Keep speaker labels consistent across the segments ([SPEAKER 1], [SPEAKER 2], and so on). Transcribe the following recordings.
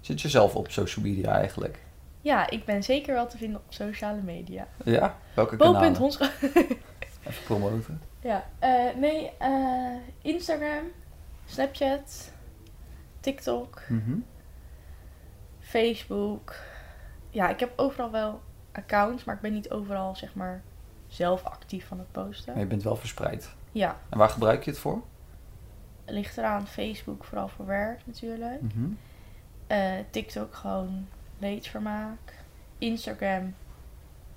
[SPEAKER 1] Zit je zelf op social media eigenlijk?
[SPEAKER 2] Ja, ik ben zeker wel te vinden op sociale media.
[SPEAKER 1] Ja? Welke kanalen?
[SPEAKER 2] Bo.hons.
[SPEAKER 1] Even promoten.
[SPEAKER 2] ja, eh, nee, eh, Instagram, Snapchat, TikTok,
[SPEAKER 1] Mhm.
[SPEAKER 2] Facebook. Ja, ik heb overal wel accounts, maar ik ben niet overal zeg maar zelf actief van het posten.
[SPEAKER 1] Maar je bent wel verspreid.
[SPEAKER 2] Ja,
[SPEAKER 1] En waar gebruik je het voor?
[SPEAKER 2] ligt eraan Facebook vooral voor werk natuurlijk.
[SPEAKER 1] Mhm.
[SPEAKER 2] Eh, TikTok gewoon leedvermaak. Instagram,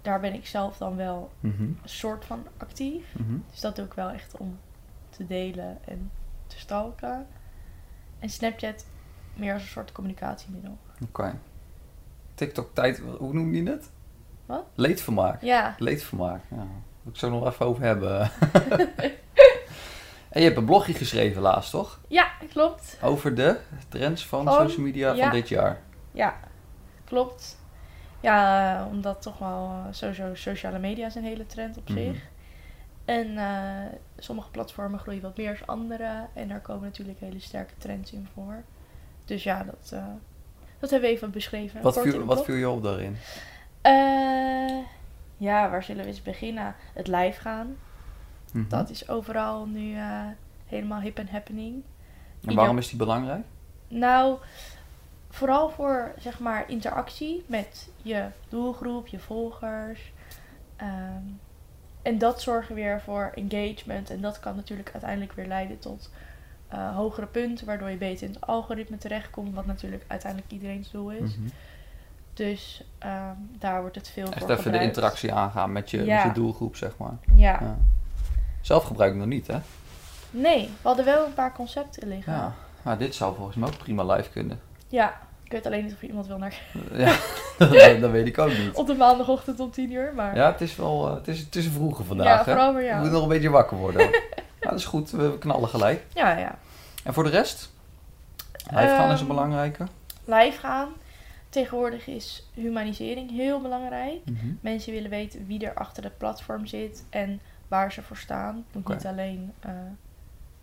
[SPEAKER 2] daar ben ik zelf dan wel
[SPEAKER 1] Mhm.
[SPEAKER 2] een soort van actief.
[SPEAKER 1] Mhm.
[SPEAKER 2] Dus dat doe ik wel echt om te delen en te stalken. En Snapchat meer als een soort communicatiemiddel.
[SPEAKER 1] Oké. TikTok tijd, hoe noem je het?
[SPEAKER 2] Wat?
[SPEAKER 1] Leedvermaak.
[SPEAKER 2] Ja,
[SPEAKER 1] Leedvermaak, ja. Moet ik zo nog even over hebben. en je hebt een blogje geschreven laatst, toch?
[SPEAKER 2] ja, klopt.
[SPEAKER 1] Over de trends van
[SPEAKER 2] Van-
[SPEAKER 1] social media
[SPEAKER 2] ja.
[SPEAKER 1] van dit jaar.
[SPEAKER 2] Ja, klopt. Ja, eh, omdat toch wel eh, sowieso sociale media is een hele trend op
[SPEAKER 1] Mhm.
[SPEAKER 2] zich. En eh, sommige platformen groeien wat meer dan andere. En daar komen natuurlijk hele sterke trends in voor. Dus ja, dat, eh, dat hebben we even beschreven.
[SPEAKER 1] Wat
[SPEAKER 2] Kort in
[SPEAKER 1] viel,
[SPEAKER 2] een
[SPEAKER 1] wat
[SPEAKER 2] blog.
[SPEAKER 1] viel je op daarin?
[SPEAKER 2] Eh, ja, waar zullen we eens beginnen? Het live gaan.
[SPEAKER 1] Mhm.
[SPEAKER 2] Dat is overal nu eh, helemaal hip en happening.
[SPEAKER 1] En waarom is die belangrijk?
[SPEAKER 2] Nou, vooral voor zeg maar interactie met je doelgroep, je volgers. Ehm, en dat zorgen weer voor engagement. En dat kan natuurlijk uiteindelijk weer leiden tot eh, hogere punten, waardoor je beter in het algoritme terechtkomt, wat natuurlijk uiteindelijk iedereen's doel is.
[SPEAKER 1] Mhm.
[SPEAKER 2] Dus ehm, daar wordt het veel
[SPEAKER 1] Echt
[SPEAKER 2] voor
[SPEAKER 1] even de
[SPEAKER 2] gebruikt.
[SPEAKER 1] interactie aangaan met je,
[SPEAKER 2] Ja.
[SPEAKER 1] met je doelgroep, zeg maar.
[SPEAKER 2] Ja.
[SPEAKER 1] Ja. Zelf gebruik ik nog niet, hè?
[SPEAKER 2] Nee, we hadden wel een paar concepten liggen.
[SPEAKER 1] Ja. Maar dit zou volgens mij ook prima live kunnen.
[SPEAKER 2] Ja, ik weet alleen niet of er iemand wil naar
[SPEAKER 1] Ja, dat, dat weet ik ook niet.
[SPEAKER 2] op de maandagochtend om 10 uur, maar
[SPEAKER 1] Ja, het is wel eh, het is, het is vroeger
[SPEAKER 2] Ja,
[SPEAKER 1] vandaag. hè?
[SPEAKER 2] vooral voor
[SPEAKER 1] Je
[SPEAKER 2] jou.
[SPEAKER 1] moet nog een beetje wakker worden. ja, dat is goed, we knallen gelijk.
[SPEAKER 2] ja, ja.
[SPEAKER 1] En voor de rest? Live gaan is een
[SPEAKER 2] Ehm,
[SPEAKER 1] belangrijke.
[SPEAKER 2] Live gaan. Tegenwoordig is humanisering heel belangrijk. Mensen willen weten wie er achter het platform zit en waar ze voor staan. Het moet
[SPEAKER 1] Oké.
[SPEAKER 2] niet alleen eh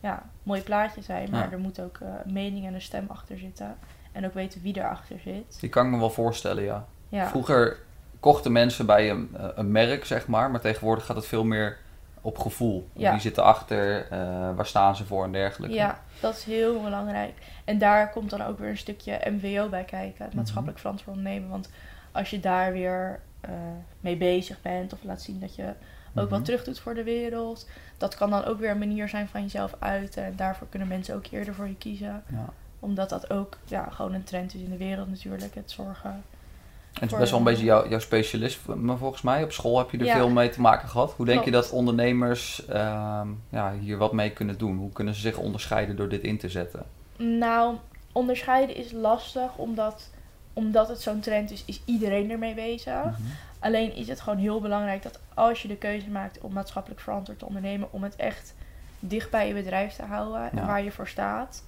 [SPEAKER 2] ja, mooi plaatje zijn, maar
[SPEAKER 1] Ja.
[SPEAKER 2] er moet ook eh, een mening en een stem achter zitten. En ook weten wie erachter zit.
[SPEAKER 1] Die kan ik me wel voorstellen, ja.
[SPEAKER 2] Ja,
[SPEAKER 1] Vroeger kochten mensen bij een, eh, een merk, zeg maar. Maar tegenwoordig gaat het veel meer op gevoel.
[SPEAKER 2] Ja.
[SPEAKER 1] Wie zit erachter? eh waar staan ze voor en dergelijke.
[SPEAKER 2] ja, dat is heel belangrijk. En daar komt dan ook weer een stukje MVO bij kijken, het
[SPEAKER 1] Mhm.
[SPEAKER 2] maatschappelijk verantwoord ondernemen. Want als je daar weer eh, mee bezig bent of laat zien dat je ook
[SPEAKER 1] Mhm.
[SPEAKER 2] wat terug doet voor de wereld. Dat kan dan ook weer een manier zijn van jezelf uiten. En daarvoor kunnen mensen ook eerder voor je kiezen.
[SPEAKER 1] Ja.
[SPEAKER 2] Omdat dat ook ja, gewoon een trend is in de wereld natuurlijk. Het zorgen.
[SPEAKER 1] En het is
[SPEAKER 2] Voor-
[SPEAKER 1] best wel een beetje jouw, jouw specialisme volgens mij. Op school heb je er
[SPEAKER 2] Ja.
[SPEAKER 1] veel mee te maken gehad. Hoe denk je
[SPEAKER 2] Klopt.
[SPEAKER 1] dat ondernemers ehm, ja, hier wat mee kunnen doen? Hoe kunnen ze zich onderscheiden door dit in te zetten?
[SPEAKER 2] Nou, onderscheiden is lastig. Omdat, omdat het zo'n trend is, is iedereen ermee bezig.
[SPEAKER 1] Mhm.
[SPEAKER 2] Alleen is het gewoon heel belangrijk dat als je de keuze maakt om maatschappelijk verantwoord te ondernemen, om het echt dicht bij je bedrijf te houden
[SPEAKER 1] Ja.
[SPEAKER 2] en waar je voor staat.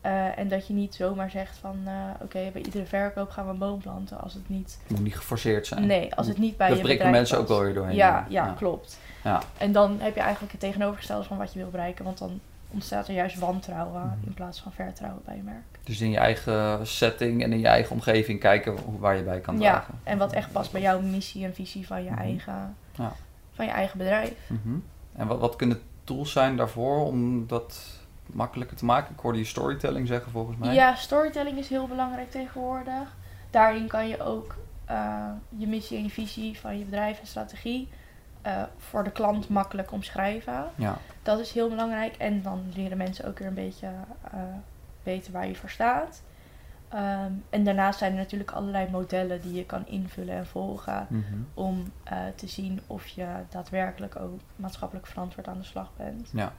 [SPEAKER 2] Eh, en dat je niet zomaar zegt van eh, oké, bij iedere verkoop gaan we een boom planten als het niet.
[SPEAKER 1] Het moet niet geforceerd zijn.
[SPEAKER 2] Nee, als het niet bij
[SPEAKER 1] Dat
[SPEAKER 2] je
[SPEAKER 1] prikken
[SPEAKER 2] bedrijf
[SPEAKER 1] mensen ook
[SPEAKER 2] past.
[SPEAKER 1] wel weer doorheen.
[SPEAKER 2] Ja, ja, klopt.
[SPEAKER 1] Ja.
[SPEAKER 2] En dan heb je eigenlijk het tegenovergestelde van wat je wil bereiken, want dan ontstaat er juist wantrouwen
[SPEAKER 1] Mhm.
[SPEAKER 2] in plaats van vertrouwen bij je merk.
[SPEAKER 1] Dus in je eigen setting en in je eigen omgeving kijken hoe- waar je bij kan
[SPEAKER 2] ja,
[SPEAKER 1] dragen.
[SPEAKER 2] en wat echt past bij jouw missie en visie van je
[SPEAKER 1] Mhm.
[SPEAKER 2] eigen,
[SPEAKER 1] Ja.
[SPEAKER 2] van je eigen bedrijf.
[SPEAKER 1] Mhm. En wat, wat kunnen tools zijn daarvoor om dat makkelijker te maken? Ik hoorde je storytelling zeggen volgens mij.
[SPEAKER 2] Ja, storytelling is heel belangrijk tegenwoordig. Daarin kan je ook eh, je missie en je visie van je bedrijf en strategie eh, voor de klant makkelijk omschrijven.
[SPEAKER 1] Ja.
[SPEAKER 2] Dat is heel belangrijk. En dan leren mensen ook weer een beetje eh, weten waar je voor staat. Ehm, en daarnaast zijn er natuurlijk allerlei modellen die je kan invullen en volgen
[SPEAKER 1] Mhm.
[SPEAKER 2] om eh, te zien of je daadwerkelijk ook maatschappelijk verantwoord aan de slag bent.
[SPEAKER 1] Ja.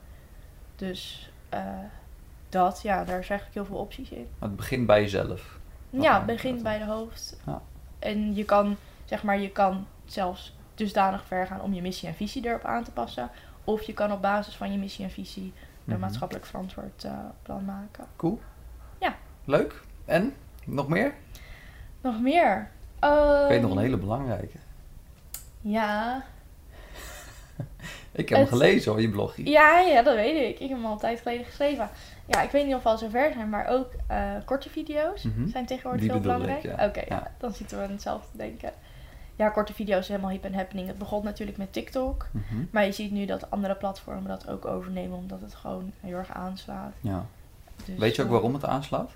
[SPEAKER 2] Dus eh, dat, ja, daar zijn eigenlijk heel veel opties in.
[SPEAKER 1] Maar het begint bij jezelf. Dat
[SPEAKER 2] ja,
[SPEAKER 1] lijkt me
[SPEAKER 2] begin
[SPEAKER 1] dat
[SPEAKER 2] bij de hoofd.
[SPEAKER 1] Ja.
[SPEAKER 2] En je kan, zeg maar, je kan zelfs dusdanig ver gaan om je missie en visie erop aan te passen. Of je kan op basis van je missie en visie een
[SPEAKER 1] Mhm.
[SPEAKER 2] maatschappelijk verantwoord eh, plan maken.
[SPEAKER 1] Cool.
[SPEAKER 2] Ja.
[SPEAKER 1] Leuk. En? Nog meer?
[SPEAKER 2] Nog meer.
[SPEAKER 1] Ik weet
[SPEAKER 2] Ehm,
[SPEAKER 1] nog een hele belangrijke.
[SPEAKER 2] Ja.
[SPEAKER 1] Ik heb hem
[SPEAKER 2] het-
[SPEAKER 1] gelezen hoor, je blogje.
[SPEAKER 2] ja, ja, dat weet ik. Ik heb hem al een tijd geleden geschreven. ja, ik weet niet of we al zover zijn, maar ook eh, korte video's
[SPEAKER 1] Mhm.
[SPEAKER 2] zijn tegenwoordig
[SPEAKER 1] Die
[SPEAKER 2] heel
[SPEAKER 1] bedoelde ik,
[SPEAKER 2] belangrijk. Oké,
[SPEAKER 1] ja.
[SPEAKER 2] ja.
[SPEAKER 1] Ja.
[SPEAKER 2] dan zitten we aan hetzelfde denken. Ja, korte video's is helemaal hip en happening. Het begon natuurlijk met TikTok.
[SPEAKER 1] Mhm.
[SPEAKER 2] Maar je ziet nu dat andere platformen dat ook overnemen, omdat het gewoon heel erg aanslaat.
[SPEAKER 1] Ja.
[SPEAKER 2] Dus,
[SPEAKER 1] Weet je ook
[SPEAKER 2] eh,
[SPEAKER 1] waarom het aanslaat?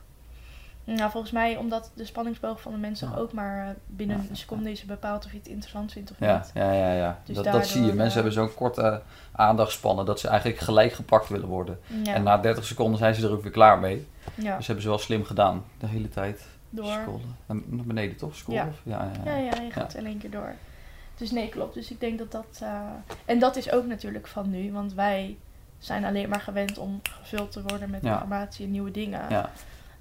[SPEAKER 2] Nou, volgens mij omdat de spanningsboog van de mensen
[SPEAKER 1] Ja.
[SPEAKER 2] ook maar eh, binnen
[SPEAKER 1] Ah. Ja, ja,
[SPEAKER 2] een seconde is bepaald of je het interessant vindt of
[SPEAKER 1] Ja,
[SPEAKER 2] niet.
[SPEAKER 1] ja, ja. ja.
[SPEAKER 2] Dus
[SPEAKER 1] dat, dat
[SPEAKER 2] daardoor,
[SPEAKER 1] zie je. Mensen
[SPEAKER 2] eh,
[SPEAKER 1] hebben zo'n korte aandachtspannen dat ze eigenlijk gelijk gepakt willen worden.
[SPEAKER 2] Ja,
[SPEAKER 1] En na 30 seconden zijn ze er ook weer klaar mee.
[SPEAKER 2] ja,
[SPEAKER 1] Dus hebben ze wel slim gedaan. De hele tijd
[SPEAKER 2] door.
[SPEAKER 1] scrollen. Naar- Naar beneden toch? Scrollen?
[SPEAKER 2] Ja.
[SPEAKER 1] Of- Ja, ja,
[SPEAKER 2] Ja,
[SPEAKER 1] ja.
[SPEAKER 2] ja, je gaat in één keer door. Dus nee, klopt. Dus ik denk dat dat... eh, En dat is ook natuurlijk van nu, want wij zijn alleen maar gewend om gevuld te worden met
[SPEAKER 1] Ja.
[SPEAKER 2] informatie en nieuwe dingen.
[SPEAKER 1] Ja.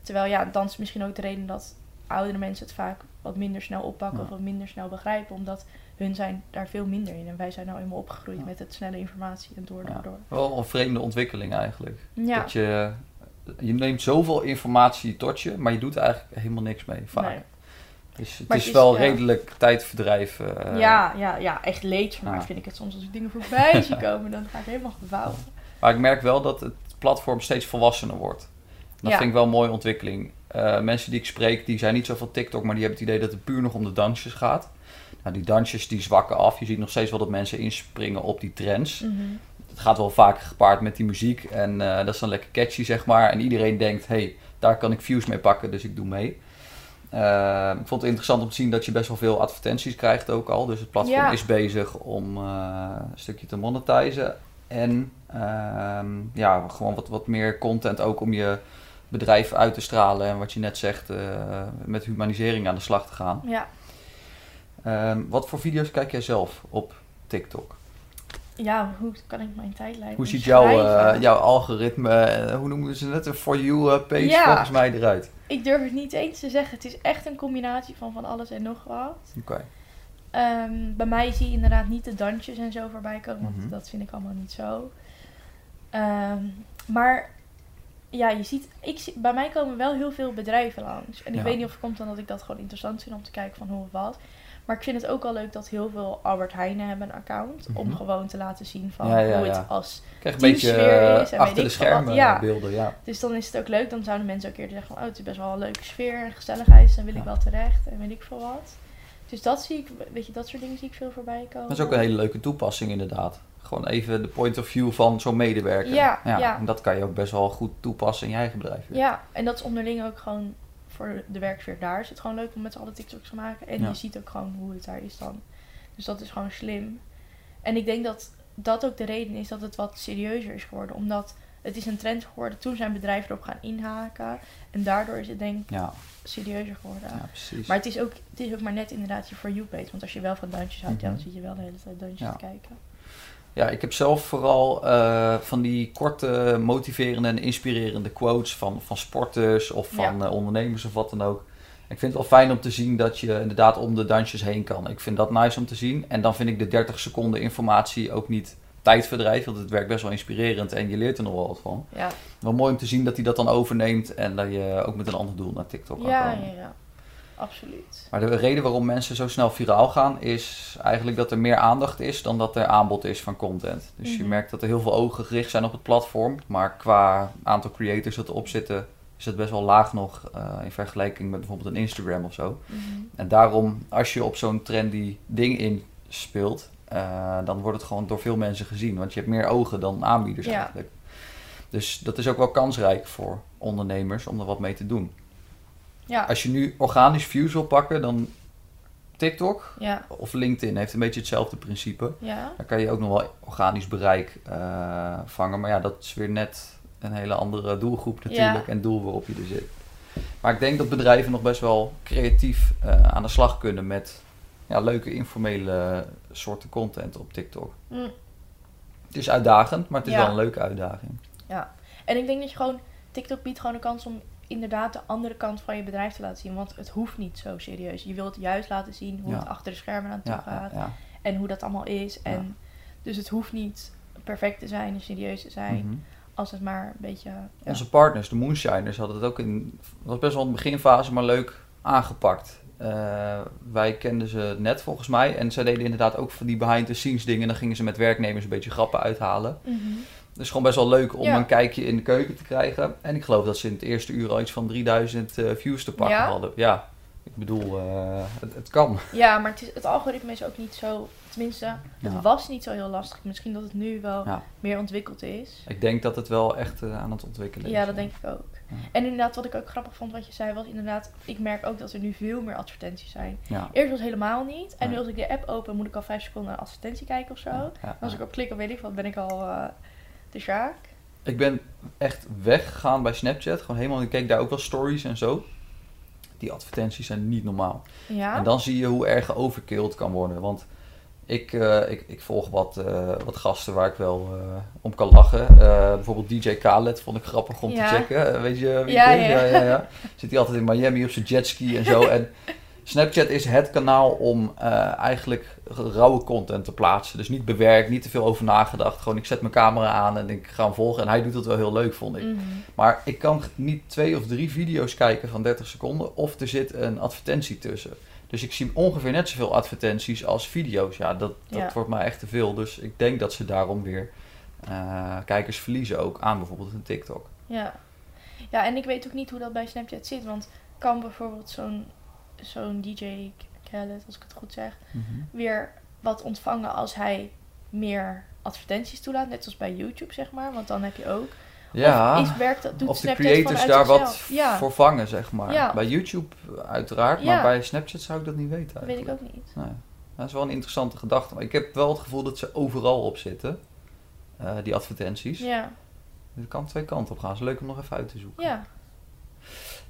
[SPEAKER 2] Terwijl ja, dan is misschien ook de reden dat oudere mensen het vaak wat minder snel oppakken
[SPEAKER 1] Ja.
[SPEAKER 2] of wat minder snel begrijpen. Omdat hun zijn daar veel minder in. En wij zijn nou eenmaal opgegroeid
[SPEAKER 1] Ja.
[SPEAKER 2] met het snelle informatie en door, door,
[SPEAKER 1] Ja.
[SPEAKER 2] door.
[SPEAKER 1] Wel een vreemde ontwikkeling eigenlijk.
[SPEAKER 2] Ja,
[SPEAKER 1] Dat je, je neemt zoveel informatie tot je, maar je doet er eigenlijk helemaal niks mee vaak.
[SPEAKER 2] nee.
[SPEAKER 1] Dus het
[SPEAKER 2] Maar
[SPEAKER 1] is
[SPEAKER 2] het is,
[SPEAKER 1] wel
[SPEAKER 2] ja.
[SPEAKER 1] redelijk tijdverdrijf. eh,
[SPEAKER 2] ja, ja, ja, echt leedvermaak
[SPEAKER 1] ja.
[SPEAKER 2] vind ik het soms als ik dingen voorbij zie komen. Dan ga ik helemaal gevouwen.
[SPEAKER 1] Maar ik merk wel dat het platform steeds volwassener wordt. Dat
[SPEAKER 2] Ja.
[SPEAKER 1] vind ik wel een mooie ontwikkeling. Eh, mensen die ik spreek, die zijn niet zo van TikTok, maar die hebben het idee dat het puur nog om de dansjes gaat. Nou, die dansjes die zwakken af. Je ziet nog steeds wel dat mensen inspringen op die trends.
[SPEAKER 2] Mhm.
[SPEAKER 1] Het gaat wel vaak gepaard met die muziek en eh, dat is dan lekker catchy, zeg maar. En iedereen denkt, hé, hey, daar kan ik views mee pakken, dus ik doe mee. Eh, ik vond het interessant om te zien dat je best wel veel advertenties krijgt ook al. Dus het platform
[SPEAKER 2] Ja.
[SPEAKER 1] is bezig om eh, een stukje te monetizen. En ehm, ja, gewoon wat, wat meer content ook om je bedrijf uit te stralen. En wat je net zegt, eh, met humanisering aan de slag te gaan.
[SPEAKER 2] Ja,
[SPEAKER 1] Ehm, wat voor video's kijk jij zelf op TikTok?
[SPEAKER 2] ja, hoe kan ik mijn tijdlijn
[SPEAKER 1] Hoe ziet jouw,
[SPEAKER 2] omschrijven?
[SPEAKER 1] eh, jouw algoritme, eh, hoe noemen ze het, een For You eh, page
[SPEAKER 2] Ja.
[SPEAKER 1] volgens mij eruit?
[SPEAKER 2] Ik durf het niet eens te zeggen. Het is echt een combinatie van van alles en nog wat.
[SPEAKER 1] Oké.
[SPEAKER 2] Ehm, bij mij zie je inderdaad niet de dansjes en zo voorbij komen, want
[SPEAKER 1] Mhm.
[SPEAKER 2] dat vind ik allemaal niet zo. Ehm, maar ja, je ziet, ik, zie- bij mij komen wel heel veel bedrijven langs. En ik
[SPEAKER 1] Ja.
[SPEAKER 2] weet niet of het komt omdat ik dat gewoon interessant vind om te kijken van hoe of wat. Maar ik vind het ook wel leuk dat heel veel Albert Heijnen hebben een account. Om
[SPEAKER 1] Mhm. gewoon
[SPEAKER 2] gewoon te laten zien van
[SPEAKER 1] Ja, ja,
[SPEAKER 2] hoe het
[SPEAKER 1] ja.
[SPEAKER 2] als...
[SPEAKER 1] Ik krijg een
[SPEAKER 2] Teamsfeer
[SPEAKER 1] beetje
[SPEAKER 2] is en
[SPEAKER 1] eh,
[SPEAKER 2] weet
[SPEAKER 1] achter
[SPEAKER 2] ik
[SPEAKER 1] de
[SPEAKER 2] veel wat.
[SPEAKER 1] schermen eh,
[SPEAKER 2] Ja.
[SPEAKER 1] beelden, ja.
[SPEAKER 2] Dus dan is het ook leuk. Dan zouden mensen ook eerder zeggen van... Oh, het is best wel een leuke sfeer en gezelligheid. Dus dan wil ik
[SPEAKER 1] Ja.
[SPEAKER 2] wel terecht en weet ik veel wat. Dus dat zie ik... Weet je, dat soort dingen zie ik veel voorbij komen.
[SPEAKER 1] Dat is ook een hele leuke toepassing inderdaad. Gewoon even de point of view van zo'n medewerker.
[SPEAKER 2] Ja, ja.
[SPEAKER 1] En dat kan je ook best wel goed toepassen in je eigen bedrijf. weer.
[SPEAKER 2] Ja, en dat is onderling ook gewoon voor de werksfeer daar. Is het gewoon leuk om met z'n allen TikToks te maken. En
[SPEAKER 1] Ja.
[SPEAKER 2] je ziet ook gewoon hoe het daar is dan. Dus dat is gewoon slim. En ik denk dat dat ook de reden is dat het wat serieuzer is geworden. Omdat het is een trend geworden. Toen zijn bedrijven erop gaan inhaken. En daardoor is het denk ik
[SPEAKER 1] Ja,
[SPEAKER 2] serieuzer geworden.
[SPEAKER 1] ja, precies.
[SPEAKER 2] Maar het is, ook, het is ook maar net inderdaad je For You page. Want als je wel van dansjes houdt, ja,
[SPEAKER 1] Mhm.
[SPEAKER 2] dan zit je wel de hele tijd dansjes
[SPEAKER 1] Ja.
[SPEAKER 2] te kijken.
[SPEAKER 1] Ja, ik heb zelf vooral eh, van die korte, motiverende en inspirerende quotes van, van sporters of van eh, ondernemers of wat dan ook. Ik vind het wel fijn om te zien dat je inderdaad om de dansjes heen kan. Ik vind dat nice om te zien. En dan vind ik de 30 seconden informatie ook niet tijdverdrijf, want het werkt best wel inspirerend en je leert er nog wel wat van.
[SPEAKER 2] Ja,
[SPEAKER 1] Wel mooi om te zien dat hij dat dan overneemt en dat je ook met een ander doel naar TikTok kan
[SPEAKER 2] ja,
[SPEAKER 1] komen.
[SPEAKER 2] ja, ja. Absoluut.
[SPEAKER 1] Maar de reden waarom mensen zo snel viraal gaan is eigenlijk dat er meer aandacht is dan dat er aanbod is van content. Dus je
[SPEAKER 2] Mhm.
[SPEAKER 1] merkt dat er heel veel ogen gericht zijn op het platform, maar qua aantal creators dat erop zitten is het best wel laag nog eh, in vergelijking met bijvoorbeeld een Instagram of zo.
[SPEAKER 2] Mhm.
[SPEAKER 1] En daarom, als je op zo'n trendy ding inspeelt, eh, dan wordt het gewoon door veel mensen gezien. Want je hebt meer ogen dan aanbieders
[SPEAKER 2] Ja.
[SPEAKER 1] eigenlijk. Dus dat is ook wel kansrijk voor ondernemers om er wat mee te doen.
[SPEAKER 2] Ja,
[SPEAKER 1] Als je nu organisch views wil pakken, dan TikTok
[SPEAKER 2] ja,
[SPEAKER 1] of LinkedIn heeft een beetje hetzelfde principe.
[SPEAKER 2] ja.
[SPEAKER 1] Daar kan je ook nog wel organisch bereik eh, vangen. Maar ja, dat is weer net een hele andere doelgroep natuurlijk en doel waarop je er zit. Maar ik denk dat bedrijven nog best wel creatief eh, aan de slag kunnen met ja, leuke informele soorten content op TikTok.
[SPEAKER 2] Mm.
[SPEAKER 1] Het is uitdagend, maar het is
[SPEAKER 2] Ja.
[SPEAKER 1] wel een leuke uitdaging.
[SPEAKER 2] En ik denk dat je gewoon, TikTok biedt gewoon een kans om inderdaad de andere kant van je bedrijf te laten zien. Want het hoeft niet zo serieus. Je wilt juist laten zien hoe
[SPEAKER 1] Ja.
[SPEAKER 2] het achter de schermen aan toe
[SPEAKER 1] Ja, ja,
[SPEAKER 2] gaat.
[SPEAKER 1] ja.
[SPEAKER 2] En hoe dat allemaal is. En Dus het hoeft niet perfect te zijn en serieus te zijn.
[SPEAKER 1] Mhm.
[SPEAKER 2] Als het maar een beetje... ja.
[SPEAKER 1] Onze partners, de Moonshiners, hadden het ook in. Het was best wel een beginfase, maar leuk aangepakt. Eh, wij kenden ze net volgens mij. En zij deden inderdaad ook van die behind the scenes dingen. En dan gingen ze met werknemers een beetje grappen uithalen.
[SPEAKER 2] Mhm.
[SPEAKER 1] is gewoon best wel leuk om
[SPEAKER 2] Ja.
[SPEAKER 1] een kijkje in de keuken te krijgen. En ik geloof dat ze in het eerste uur al iets van 3000 eh, views te pakken
[SPEAKER 2] Ja?
[SPEAKER 1] hadden. Ja, ik bedoel, eh, het, het kan.
[SPEAKER 2] Ja, maar het, is, het algoritme is ook niet zo. Tenminste, het
[SPEAKER 1] Ja.
[SPEAKER 2] was niet zo heel lastig. Misschien dat het nu wel
[SPEAKER 1] Ja.
[SPEAKER 2] meer ontwikkeld is.
[SPEAKER 1] Ik denk dat het wel echt eh, aan het ontwikkelen is.
[SPEAKER 2] Ja, dat denk ik ook.
[SPEAKER 1] Ja.
[SPEAKER 2] En inderdaad, wat ik ook grappig vond wat je zei, was inderdaad, ik merk ook dat er nu veel meer advertenties zijn.
[SPEAKER 1] Ja.
[SPEAKER 2] Eerst was het helemaal niet. En nu
[SPEAKER 1] Nee.
[SPEAKER 2] als ik de app open, moet ik al vijf seconden naar advertentie kijken of zo.
[SPEAKER 1] Ja,
[SPEAKER 2] En
[SPEAKER 1] ja,
[SPEAKER 2] als
[SPEAKER 1] ja.
[SPEAKER 2] ik op klik, dan weet ik wat, ben ik al eh, de Sjaak.
[SPEAKER 1] Ik ben echt weggegaan bij Snapchat. Gewoon helemaal. Ik keek daar ook wel stories en zo. Die advertenties zijn niet normaal.
[SPEAKER 2] Ja.
[SPEAKER 1] En dan zie je hoe erg overkilled kan worden. Want ik, eh, ik, ik volg wat, eh, wat gasten waar ik wel eh, om kan lachen. Eh, bijvoorbeeld DJ Khaled vond ik grappig om
[SPEAKER 2] Ja.
[SPEAKER 1] te checken. Eh, weet je wie
[SPEAKER 2] Ja,
[SPEAKER 1] het is?
[SPEAKER 2] ja.
[SPEAKER 1] ja, ja. Zit hij altijd in Miami op zijn jetski en zo. En Snapchat is het kanaal om eh, eigenlijk rauwe content te plaatsen. Dus niet bewerkt, niet te veel over nagedacht. Gewoon ik zet mijn camera aan en ik ga hem volgen. En hij doet dat wel heel leuk, vond ik.
[SPEAKER 2] Mhm.
[SPEAKER 1] Maar ik kan niet twee of drie video's kijken van 30 seconden of er zit een advertentie tussen. Dus ik zie ongeveer net zoveel advertenties als video's. Ja, dat, dat
[SPEAKER 2] Ja.
[SPEAKER 1] wordt mij echt te veel. Dus ik denk dat ze daarom weer eh, kijkers verliezen ook aan bijvoorbeeld een TikTok.
[SPEAKER 2] Ja. Ja, en ik weet ook niet hoe dat bij Snapchat zit. Want kan bijvoorbeeld zo'n zo'n DJ Khaled, als ik het goed zeg, weer wat ontvangen als hij meer advertenties toelaat. Net zoals bij YouTube, zeg maar. Want dan heb je ook.
[SPEAKER 1] Ja,
[SPEAKER 2] Of is, werkt, dat- doet
[SPEAKER 1] Ah, of de
[SPEAKER 2] Snapchat
[SPEAKER 1] creators
[SPEAKER 2] vanuit
[SPEAKER 1] daar wat
[SPEAKER 2] zichzelf? Ja,
[SPEAKER 1] voor vangen, zeg maar.
[SPEAKER 2] Ja.
[SPEAKER 1] Bij YouTube uiteraard,
[SPEAKER 2] Ja.
[SPEAKER 1] maar bij Snapchat zou ik dat niet weten
[SPEAKER 2] dat weet ik
[SPEAKER 1] eigenlijk.
[SPEAKER 2] ook niet.
[SPEAKER 1] Nee. Dat is wel een interessante gedachte. Maar ik heb wel het gevoel dat ze overal op zitten, eh, die advertenties.
[SPEAKER 2] Ja,
[SPEAKER 1] Het Dus kan twee kanten op gaan. Het is leuk om nog even uit te zoeken.
[SPEAKER 2] ja.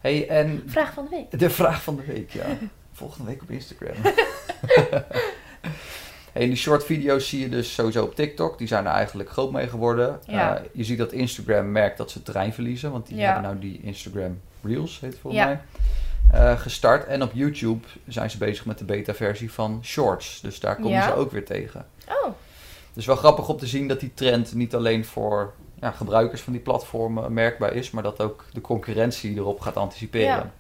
[SPEAKER 1] Hey, en
[SPEAKER 2] Vraag van de week.
[SPEAKER 1] de vraag van de week, ja. Volgende week op Instagram. hey, die short video's zie je dus sowieso op TikTok. Die zijn er eigenlijk groot mee geworden.
[SPEAKER 2] Ja.
[SPEAKER 1] Eh, je ziet dat Instagram merkt dat ze terrein verliezen. Want die
[SPEAKER 2] Ja.
[SPEAKER 1] hebben nou die Instagram Reels, heet het volgens
[SPEAKER 2] Ja.
[SPEAKER 1] mij. eh, gestart. En op YouTube zijn ze bezig met de beta-versie van Shorts. Dus daar kom je
[SPEAKER 2] Ja.
[SPEAKER 1] ze ook weer tegen.
[SPEAKER 2] Oh,
[SPEAKER 1] Dus wel grappig om te zien dat die trend niet alleen voor ja, gebruikers van die platformen merkbaar is, maar dat ook de concurrentie erop gaat anticiperen.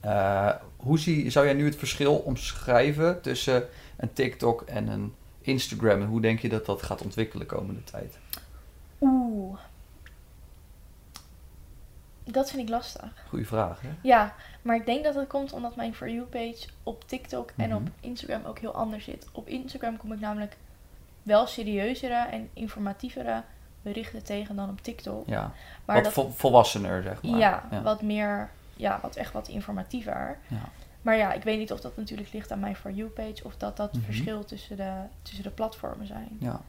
[SPEAKER 1] Eh, hoe zie, zou jij nu het verschil omschrijven tussen een TikTok en een Instagram? En hoe denk je dat dat gaat ontwikkelen komende tijd?
[SPEAKER 2] oeh. Dat vind ik lastig.
[SPEAKER 1] Goeie vraag, hè?
[SPEAKER 2] Ja, maar ik denk dat dat komt omdat mijn For You-page op TikTok en
[SPEAKER 1] Mhm.
[SPEAKER 2] op Instagram ook heel anders zit. Op Instagram kom ik namelijk wel serieuzere en informatievere berichten tegen dan op TikTok.
[SPEAKER 1] Ja,
[SPEAKER 2] Maar
[SPEAKER 1] wat
[SPEAKER 2] dat,
[SPEAKER 1] vol- volwassener, zeg maar.
[SPEAKER 2] ja,
[SPEAKER 1] ja.
[SPEAKER 2] wat meer, ja, wat echt wat informatiever.
[SPEAKER 1] Ja.
[SPEAKER 2] Maar ja, ik weet niet of dat natuurlijk ligt aan mijn For You-page of dat dat
[SPEAKER 1] Mhm.
[SPEAKER 2] verschil tussen de, tussen de platformen zijn.
[SPEAKER 1] Ja.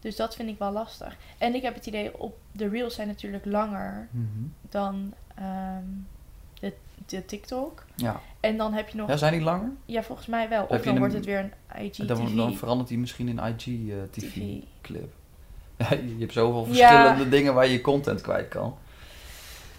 [SPEAKER 2] Dus dat vind ik wel lastig. En ik heb het idee, op de reels zijn natuurlijk langer
[SPEAKER 1] Mhm.
[SPEAKER 2] dan ehm, de, de TikTok.
[SPEAKER 1] ja.
[SPEAKER 2] En dan heb je nog
[SPEAKER 1] ja, zijn die langer?
[SPEAKER 2] Ja, volgens mij wel.
[SPEAKER 1] Heb
[SPEAKER 2] Of
[SPEAKER 1] je
[SPEAKER 2] dan
[SPEAKER 1] een-
[SPEAKER 2] wordt het weer een IGTV.
[SPEAKER 1] Dan, dan verandert die misschien in eh, IGTV-clip.
[SPEAKER 2] TV.
[SPEAKER 1] je hebt zoveel
[SPEAKER 2] Ja.
[SPEAKER 1] verschillende dingen waar je content kwijt kan.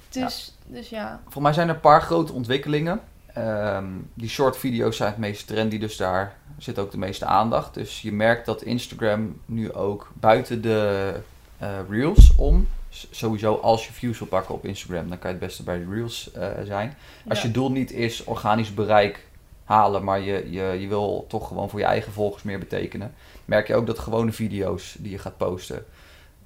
[SPEAKER 2] dus, dus ja.
[SPEAKER 1] Voor mij zijn er een paar grote ontwikkelingen. Ehm, die short video's zijn het meest trendy, dus daar zit ook de meeste aandacht. Dus je merkt dat Instagram nu ook buiten de eh, reels om. s- Sowieso als je views wil pakken op Instagram, dan kan je het beste bij de reels eh, zijn. Als
[SPEAKER 2] ja.
[SPEAKER 1] je doel niet is organisch bereik halen, maar je, je, je wil toch gewoon voor je eigen volgers meer betekenen, merk je ook dat gewone video's die je gaat posten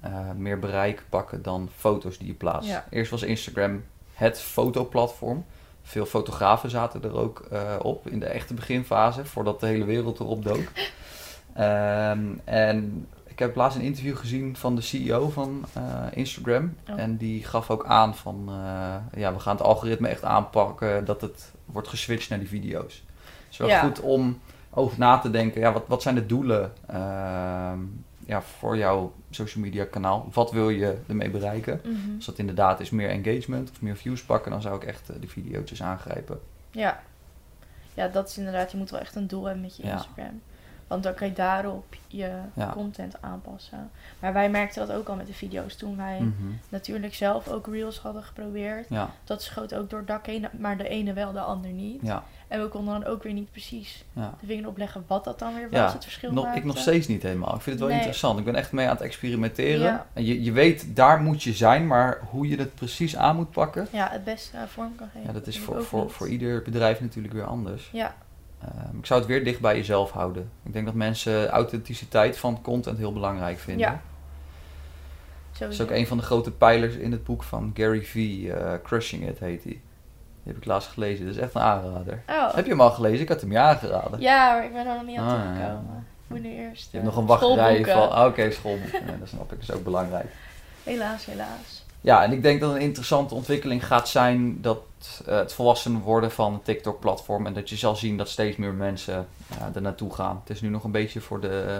[SPEAKER 1] eh, meer bereik pakken dan foto's die je plaatst.
[SPEAKER 2] Ja.
[SPEAKER 1] Eerst was Instagram het fotoplatform. Veel fotografen zaten er ook eh, op in de echte beginfase, voordat de hele wereld erop dook. Ehm, en ik heb laatst een interview gezien van de CEO van eh, Instagram.
[SPEAKER 2] Oh.
[SPEAKER 1] En die gaf ook aan van, eh, ja, we gaan het algoritme echt aanpakken, dat het wordt geswitcht naar die video's. Het is wel
[SPEAKER 2] Ja.
[SPEAKER 1] goed om over na te denken, ja, wat, wat zijn de doelen ehm, ja, voor jouw social media kanaal? Wat wil je ermee bereiken?
[SPEAKER 2] Mhm.
[SPEAKER 1] Als dat inderdaad is meer engagement of meer views pakken, dan zou ik echt eh, de video's aangrijpen.
[SPEAKER 2] ja. Ja, dat is inderdaad. Je moet wel echt een doel hebben met je
[SPEAKER 1] Ja.
[SPEAKER 2] Instagram. Want dan kan je daarop je
[SPEAKER 1] Ja.
[SPEAKER 2] content aanpassen. Maar wij merkten dat ook al met de video's. Toen wij
[SPEAKER 1] Mhm.
[SPEAKER 2] natuurlijk zelf ook reels hadden geprobeerd.
[SPEAKER 1] Ja,
[SPEAKER 2] Dat schoot ook door het dak heen. Maar de ene wel, de ander niet.
[SPEAKER 1] ja,
[SPEAKER 2] En we konden dan ook weer niet precies
[SPEAKER 1] ja.
[SPEAKER 2] de vinger opleggen wat dat dan weer was.
[SPEAKER 1] Ja,
[SPEAKER 2] het verschil
[SPEAKER 1] Nog, ik
[SPEAKER 2] maakte.
[SPEAKER 1] nog steeds niet helemaal. Ik vind het wel
[SPEAKER 2] Nee.
[SPEAKER 1] interessant. Ik ben echt mee aan het experimenteren.
[SPEAKER 2] Ja.
[SPEAKER 1] En je, je weet, daar moet je zijn, maar hoe je het precies aan moet pakken,
[SPEAKER 2] Ja, het beste eh, vorm kan geven.
[SPEAKER 1] ja, dat is
[SPEAKER 2] vind ik
[SPEAKER 1] voor,
[SPEAKER 2] ook
[SPEAKER 1] voor,
[SPEAKER 2] niet.
[SPEAKER 1] voor ieder bedrijf natuurlijk weer anders.
[SPEAKER 2] Ja,
[SPEAKER 1] Ehm, ik zou het weer dicht bij jezelf houden. Ik denk dat mensen authenticiteit van content heel belangrijk vinden.
[SPEAKER 2] Ja.
[SPEAKER 1] Dat is
[SPEAKER 2] Sowieso.
[SPEAKER 1] ook een van de grote pijlers in het boek van Gary V. eh, Crushing It heet die. Die heb ik laatst gelezen. Dat is echt een aanrader.
[SPEAKER 2] Oh.
[SPEAKER 1] Heb je hem al gelezen? Ik had hem je aangeraden.
[SPEAKER 2] Ja, maar ik ben er nog niet aan
[SPEAKER 1] Ah, ja.
[SPEAKER 2] toegekomen. Ik moet nu eerst.
[SPEAKER 1] Je
[SPEAKER 2] eh,
[SPEAKER 1] hebt nog een wachtrij
[SPEAKER 2] schoolboeken.
[SPEAKER 1] van... ah, Oké, schoolboeken. Ja, dat snap ik. Dat is ook belangrijk.
[SPEAKER 2] Helaas, helaas.
[SPEAKER 1] Ja, en ik denk dat een interessante ontwikkeling gaat zijn dat eh, het volwassen worden van het TikTok-platform en dat je zal zien dat steeds meer mensen eh er naartoe gaan. Het is nu nog een beetje voor de, eh,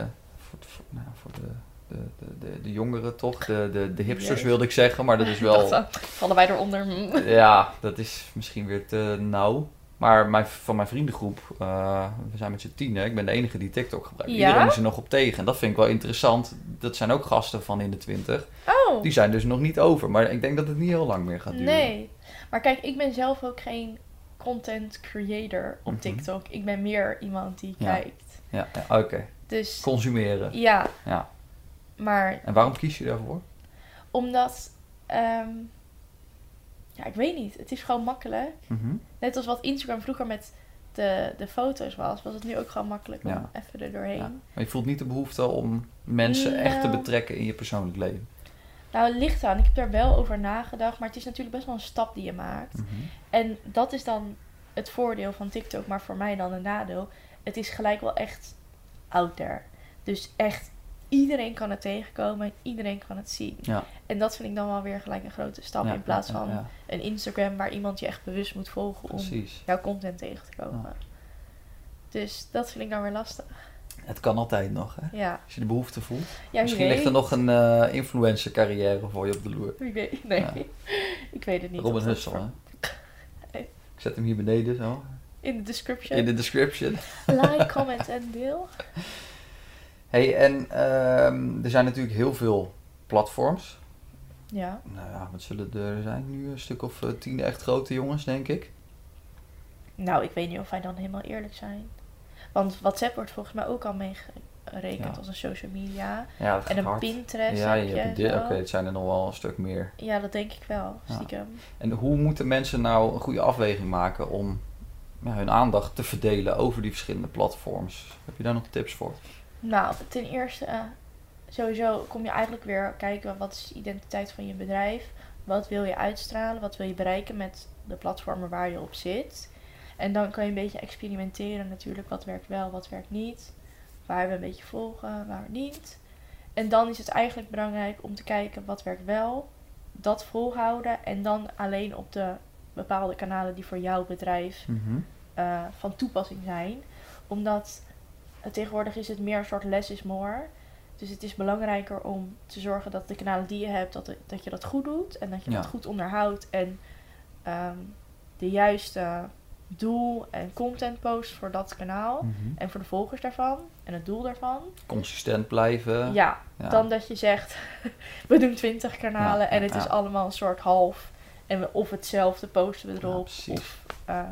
[SPEAKER 1] voor, voor- nou, ja, voor de, de, de, de, de jongeren toch? De, de, de hipsters
[SPEAKER 2] Jezus.
[SPEAKER 1] wilde ik zeggen, maar dat is
[SPEAKER 2] Ik
[SPEAKER 1] wel.
[SPEAKER 2] dacht, eh, vallen wij eronder? Mm.
[SPEAKER 1] Ja, dat is misschien weer te nauw. Maar mijn, van mijn vriendengroep, eh, we zijn met z'n tien, hè? ik ben de enige die TikTok gebruikt.
[SPEAKER 2] Ja?
[SPEAKER 1] Iedereen is er nog op tegen. En dat vind ik wel interessant. Dat zijn ook gasten van in de twintig.
[SPEAKER 2] Oh,
[SPEAKER 1] Die zijn dus nog niet over. Maar ik denk dat het niet heel lang meer gaat duren.
[SPEAKER 2] nee. Maar kijk, ik ben zelf ook geen content creator op
[SPEAKER 1] Mhm.
[SPEAKER 2] TikTok. Ik ben meer iemand die
[SPEAKER 1] Ja.
[SPEAKER 2] kijkt.
[SPEAKER 1] Ja, ja, oké.
[SPEAKER 2] Dus
[SPEAKER 1] Consumeren.
[SPEAKER 2] ja,
[SPEAKER 1] Ja.
[SPEAKER 2] maar
[SPEAKER 1] En waarom kies je daarvoor?
[SPEAKER 2] Omdat, ehm, ja, ik weet niet. Het is gewoon makkelijk.
[SPEAKER 1] Mhm.
[SPEAKER 2] Net als wat Instagram vroeger met de, de foto's was, was het nu ook gewoon makkelijk om
[SPEAKER 1] Ja.
[SPEAKER 2] even er doorheen.
[SPEAKER 1] Ja. Maar je voelt niet de behoefte om mensen echt te
[SPEAKER 2] Nou.
[SPEAKER 1] betrekken in je persoonlijk leven.
[SPEAKER 2] Nou, het ligt aan. Ik heb er wel over nagedacht, maar het is natuurlijk best wel een stap die je maakt.
[SPEAKER 1] Mhm.
[SPEAKER 2] En dat is dan het voordeel van TikTok, maar voor mij dan een nadeel. Het is gelijk wel echt out there. Dus echt, iedereen kan het tegenkomen en iedereen kan het zien.
[SPEAKER 1] Ja.
[SPEAKER 2] En dat vind ik dan wel weer gelijk een grote stap
[SPEAKER 1] Ja,
[SPEAKER 2] in plaats
[SPEAKER 1] ja, ja,
[SPEAKER 2] van
[SPEAKER 1] ja.
[SPEAKER 2] een Instagram waar iemand je echt bewust moet volgen om
[SPEAKER 1] Precies.
[SPEAKER 2] jouw content tegen te komen.
[SPEAKER 1] Ja.
[SPEAKER 2] Dus dat vind ik dan weer lastig.
[SPEAKER 1] Het kan altijd nog, hè?
[SPEAKER 2] Ja,
[SPEAKER 1] Als je de behoefte voelt.
[SPEAKER 2] ja
[SPEAKER 1] Misschien ligt er nog een eh influencer carrière voor je op de loer.
[SPEAKER 2] Wie weet, nee,
[SPEAKER 1] Ja.
[SPEAKER 2] ik weet het niet.
[SPEAKER 1] Robin
[SPEAKER 2] of dat
[SPEAKER 1] Hussel,
[SPEAKER 2] voor-
[SPEAKER 1] hè?
[SPEAKER 2] Nee.
[SPEAKER 1] Ik zet hem hier beneden zo.
[SPEAKER 2] In de description.
[SPEAKER 1] In de description.
[SPEAKER 2] Like, comment en deel.
[SPEAKER 1] hey, en ehm, er zijn natuurlijk heel veel platforms.
[SPEAKER 2] Ja,
[SPEAKER 1] Nou ja, wat zullen er zijn nu? Een stuk of eh, tien echt grote jongens, denk ik.
[SPEAKER 2] nou, ik weet niet of wij dan helemaal eerlijk zijn. Want WhatsApp wordt volgens mij ook al meegerekend
[SPEAKER 1] Ja.
[SPEAKER 2] als een social media.
[SPEAKER 1] Ja, dat gaat
[SPEAKER 2] En een
[SPEAKER 1] hard.
[SPEAKER 2] Pinterest
[SPEAKER 1] Ja,
[SPEAKER 2] heb
[SPEAKER 1] je hebt
[SPEAKER 2] je.
[SPEAKER 1] dit-
[SPEAKER 2] zo.
[SPEAKER 1] oké, het zijn er nog wel een stuk meer.
[SPEAKER 2] Ja, dat denk ik wel,
[SPEAKER 1] Ja.
[SPEAKER 2] stiekem.
[SPEAKER 1] En hoe moeten mensen nou een goede afweging maken om ja, hun aandacht te verdelen over die verschillende platforms? Heb je daar nog tips voor?
[SPEAKER 2] Nou, ten eerste, eh, sowieso kom je eigenlijk weer kijken wat is de identiteit van je bedrijf. Wat wil je uitstralen? Wat wil je bereiken met de platformen waar je op zit? En dan kan je een beetje experimenteren natuurlijk. Wat werkt wel, wat werkt niet. Waar we een beetje volgen, waar we niet. En dan is het eigenlijk belangrijk om te kijken wat werkt wel. Dat volhouden. En dan alleen op de bepaalde kanalen die voor jouw bedrijf
[SPEAKER 1] Mhm,
[SPEAKER 2] eh, van toepassing zijn. Omdat het tegenwoordig is het meer een soort less is more. Dus het is belangrijker om te zorgen dat de kanalen die je hebt, dat, dat je dat goed doet. En dat je
[SPEAKER 1] Ja.
[SPEAKER 2] dat goed onderhoudt. En ehm, de juiste doel en content post voor dat
[SPEAKER 1] Mm.
[SPEAKER 2] kanaal.
[SPEAKER 1] mhm.
[SPEAKER 2] En voor de volgers daarvan. En het doel daarvan.
[SPEAKER 1] Consistent blijven.
[SPEAKER 2] Ja,
[SPEAKER 1] Ja.
[SPEAKER 2] dan dat je zegt, we doen 20 kanalen
[SPEAKER 1] Ja,
[SPEAKER 2] en
[SPEAKER 1] ja,
[SPEAKER 2] het is
[SPEAKER 1] ja.
[SPEAKER 2] allemaal een soort half. En we, of hetzelfde posten we
[SPEAKER 1] Ja,
[SPEAKER 2] erop.
[SPEAKER 1] precies.
[SPEAKER 2] of, eh,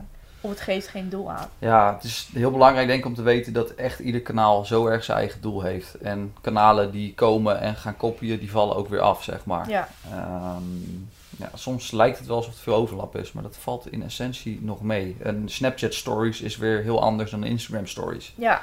[SPEAKER 2] of het geeft geen doel aan.
[SPEAKER 1] Ja, het is heel belangrijk denk ik om te weten dat echt ieder kanaal zo erg zijn eigen doel heeft. En kanalen die komen en gaan kopiëren, die vallen ook weer af, zeg maar.
[SPEAKER 2] Ja.
[SPEAKER 1] Ehm, ja, soms lijkt het wel alsof er veel overlap is, maar dat valt in essentie nog mee. Een Snapchat Stories is weer heel anders dan een Instagram Stories.
[SPEAKER 2] Ja.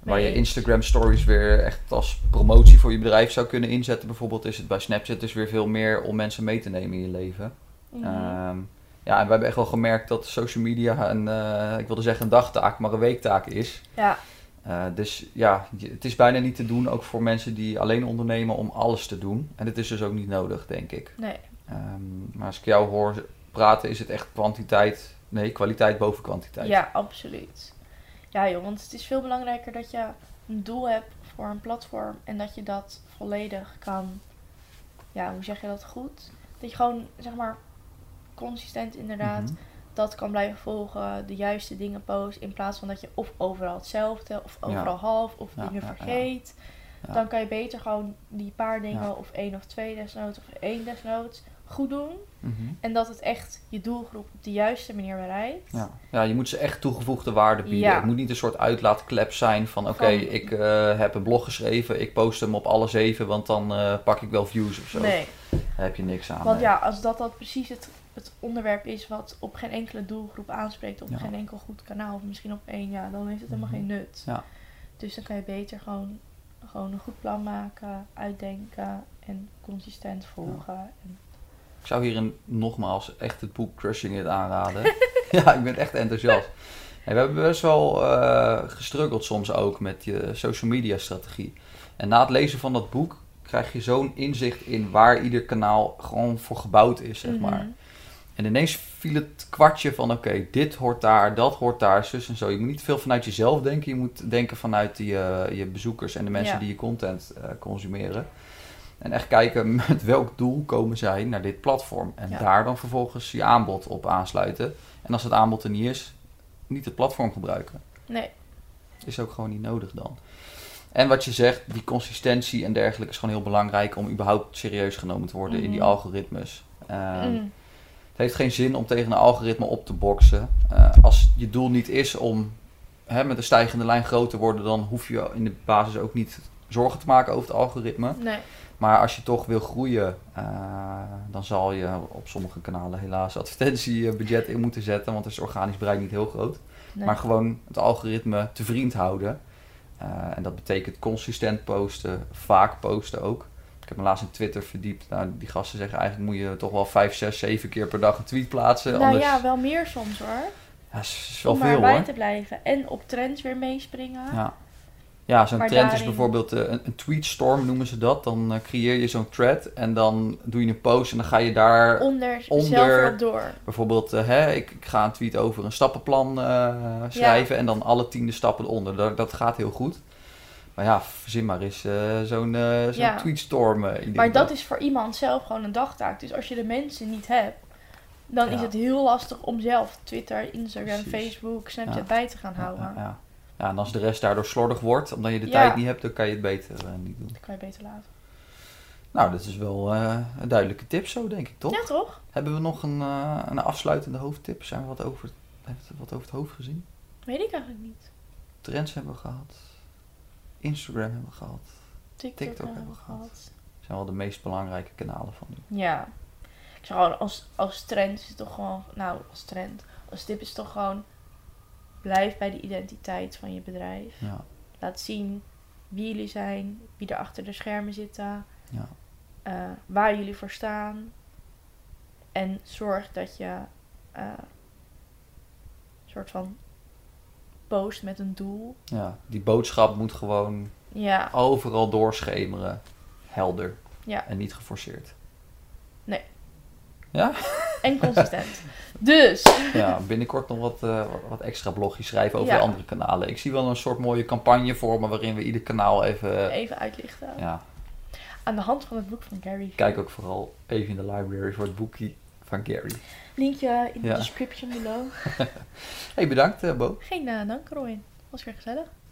[SPEAKER 1] Waar je
[SPEAKER 2] Nee.
[SPEAKER 1] Instagram Stories weer echt als promotie voor je bedrijf zou kunnen inzetten, bijvoorbeeld, is het bij Snapchat dus weer veel meer om mensen mee te nemen in je leven.
[SPEAKER 2] Mhm.
[SPEAKER 1] Ehm, ja, en we hebben echt wel gemerkt dat social media een, eh, ik wilde zeggen een dagtaak, maar een weektaak is.
[SPEAKER 2] ja,
[SPEAKER 1] Eh, dus ja, je- het is bijna niet te doen, ook voor mensen die alleen ondernemen, om alles te doen. En het is dus ook niet nodig, denk ik.
[SPEAKER 2] nee.
[SPEAKER 1] Ehm, maar als ik jou hoor praten, is het echt kwantiteit. Nee, kwaliteit boven kwantiteit.
[SPEAKER 2] Ja, absoluut. Ja joh, want het is veel belangrijker dat je een doel hebt voor een platform. En dat je dat volledig kan... Ja, hoe zeg je dat goed? Dat je gewoon, zeg maar, consistent inderdaad...
[SPEAKER 1] Mhm.
[SPEAKER 2] dat kan blijven volgen, de juiste dingen post. In plaats van dat je of overal hetzelfde, of overal half, of
[SPEAKER 1] Ja,
[SPEAKER 2] dingen
[SPEAKER 1] ja, ja.
[SPEAKER 2] vergeet.
[SPEAKER 1] Ja.
[SPEAKER 2] Dan kan je beter gewoon die paar dingen,
[SPEAKER 1] Ja.
[SPEAKER 2] of één of twee desnoods, of één desnoods, goed doen.
[SPEAKER 1] Mhm.
[SPEAKER 2] En dat het echt je doelgroep op de juiste manier bereikt.
[SPEAKER 1] Ja. ja, je moet ze echt toegevoegde waarde bieden.
[SPEAKER 2] Ja.
[SPEAKER 1] Het moet niet een soort uitlaatklep zijn van... oké,
[SPEAKER 2] Van-
[SPEAKER 1] ik eh, heb een blog geschreven, ik post hem op alle zeven... want dan eh, pak ik wel views of zo.
[SPEAKER 2] nee,
[SPEAKER 1] Daar heb je niks aan.
[SPEAKER 2] want
[SPEAKER 1] nee.
[SPEAKER 2] ja, als dat dan precies het, het onderwerp is wat op geen enkele doelgroep aanspreekt, op
[SPEAKER 1] Ja.
[SPEAKER 2] geen enkel goed kanaal, of misschien op één, ja, dan heeft het helemaal
[SPEAKER 1] Mhm.
[SPEAKER 2] geen nut.
[SPEAKER 1] Ja.
[SPEAKER 2] Dus dan kan je beter gewoon, gewoon een goed plan maken, uitdenken en consistent volgen. En,
[SPEAKER 1] Ik zou hierin nogmaals echt het boek Crushing It aanraden. ja, ik ben echt enthousiast. En we hebben best wel eh, gestruggeld soms ook met je social media strategie. En na het lezen van dat boek krijg je zo'n inzicht in waar ieder kanaal gewoon voor gebouwd is, zeg maar.
[SPEAKER 2] Mhm.
[SPEAKER 1] En ineens viel het kwartje van: oké, dit hoort daar, dat hoort daar, zus en zo. Je moet niet veel vanuit jezelf denken. Je moet denken vanuit die, eh, je bezoekers en de mensen
[SPEAKER 2] Ja.
[SPEAKER 1] die je content eh, consumeren. En echt kijken met welk doel komen zij naar dit platform. En
[SPEAKER 2] Ja.
[SPEAKER 1] daar dan vervolgens je aanbod op aansluiten. En als het aanbod er niet is, niet het platform gebruiken.
[SPEAKER 2] Nee,
[SPEAKER 1] Is ook gewoon niet nodig dan. En wat je zegt, die consistentie en dergelijke is gewoon heel belangrijk om überhaupt serieus genomen te worden in die
[SPEAKER 2] Mhm.
[SPEAKER 1] algoritmes. Ehm,
[SPEAKER 2] mm,
[SPEAKER 1] het heeft geen zin om tegen een algoritme op te boksen. Eh, als je doel niet is om hè, met een stijgende lijn groot te worden, dan hoef je in de basis ook niet zorgen te maken over het algoritme.
[SPEAKER 2] nee.
[SPEAKER 1] Maar als je toch wil groeien, eh, dan zal je op sommige kanalen helaas advertentiebudget in moeten zetten, want dan is het organisch bereik niet heel groot.
[SPEAKER 2] nee.
[SPEAKER 1] Maar gewoon het algoritme te vriend houden. Eh, en dat betekent consistent posten, vaak posten ook. Ik heb me laatst in Twitter verdiept. Nou, die gasten zeggen eigenlijk moet je toch wel 5, 6, 7 keer per dag een tweet plaatsen.
[SPEAKER 2] nou
[SPEAKER 1] eh, anders
[SPEAKER 2] ja, wel meer soms hoor.
[SPEAKER 1] Ja, is is wel
[SPEAKER 2] om maar
[SPEAKER 1] veel
[SPEAKER 2] bij
[SPEAKER 1] hoor.
[SPEAKER 2] te blijven. En op trends weer meespringen.
[SPEAKER 1] Ja, ja zo'n
[SPEAKER 2] Maar
[SPEAKER 1] trend is
[SPEAKER 2] daarin-
[SPEAKER 1] bijvoorbeeld eh, een, een tweetstorm noemen ze dat. Dan eh, creëer je zo'n thread en dan doe je een post en dan ga je daar
[SPEAKER 2] Onder,
[SPEAKER 1] Onder-
[SPEAKER 2] zelf weer op door.
[SPEAKER 1] Bijvoorbeeld, eh, hè, ik, ik ga een tweet over een stappenplan eh, schrijven en dan alle tiende stappen eronder. Dat, dat gaat heel goed. Maar ja, verzin maar eens eh, zo'n eh, zo'n
[SPEAKER 2] Ja.
[SPEAKER 1] tweetstorm. eh, ik denk
[SPEAKER 2] Maar dat is voor iemand zelf gewoon een dagtaak. Dus als je de mensen niet hebt, dan is
[SPEAKER 1] Ja.
[SPEAKER 2] het heel lastig om zelf Twitter, Instagram,
[SPEAKER 1] Precies.
[SPEAKER 2] Facebook, Snapchat
[SPEAKER 1] Ja.
[SPEAKER 2] bij te gaan
[SPEAKER 1] Ja,
[SPEAKER 2] houden.
[SPEAKER 1] ja, ja. Ja, en als de rest daardoor slordig wordt, omdat je de
[SPEAKER 2] Ja.
[SPEAKER 1] tijd niet hebt, dan kan je het beter eh, niet doen.
[SPEAKER 2] Dat kan je beter laten.
[SPEAKER 1] Nou, dat is wel eh, een duidelijke tip zo, denk ik, toch?
[SPEAKER 2] Ja, toch?
[SPEAKER 1] Hebben we nog een, eh, een afsluitende hoofdtip? Zijn we wat over, hebben we wat over het hoofd gezien?
[SPEAKER 2] Weet ik eigenlijk niet.
[SPEAKER 1] Trends hebben we gehad. Instagram hebben we gehad.
[SPEAKER 2] TikTok,
[SPEAKER 1] TikTok
[SPEAKER 2] hebben we
[SPEAKER 1] hebben we gehad.
[SPEAKER 2] gehad.
[SPEAKER 1] zijn wel de meest belangrijke kanalen van nu.
[SPEAKER 2] Ja. Ik zou gewoon als, als trend is het toch gewoon. Nou, als trend. Als tip is het toch gewoon. Blijf bij de identiteit van je bedrijf.
[SPEAKER 1] Ja.
[SPEAKER 2] Laat zien wie jullie zijn, wie er achter de schermen zitten,
[SPEAKER 1] Ja.
[SPEAKER 2] eh, waar jullie voor staan. En zorg dat je eh, een soort van post met een doel.
[SPEAKER 1] Ja, die boodschap moet gewoon
[SPEAKER 2] Ja,
[SPEAKER 1] overal doorschemeren. Helder.
[SPEAKER 2] Ja.
[SPEAKER 1] En niet geforceerd.
[SPEAKER 2] en consistent. dus,
[SPEAKER 1] Ja, binnenkort nog wat, eh, wat- wat extra blogjes schrijven over
[SPEAKER 2] Ja.
[SPEAKER 1] de andere kanalen. Ik zie wel een soort mooie campagne vormen waarin we ieder kanaal even...
[SPEAKER 2] even uitlichten.
[SPEAKER 1] Ja,
[SPEAKER 2] Aan de hand van het boek van Gary.
[SPEAKER 1] kijk ook vooral even in de library voor het boekje van Gary.
[SPEAKER 2] Linkje in de
[SPEAKER 1] Ja.
[SPEAKER 2] description below.
[SPEAKER 1] hey, bedankt eh, Bo.
[SPEAKER 2] Geen uh, dank, Robin. Was weer gezellig.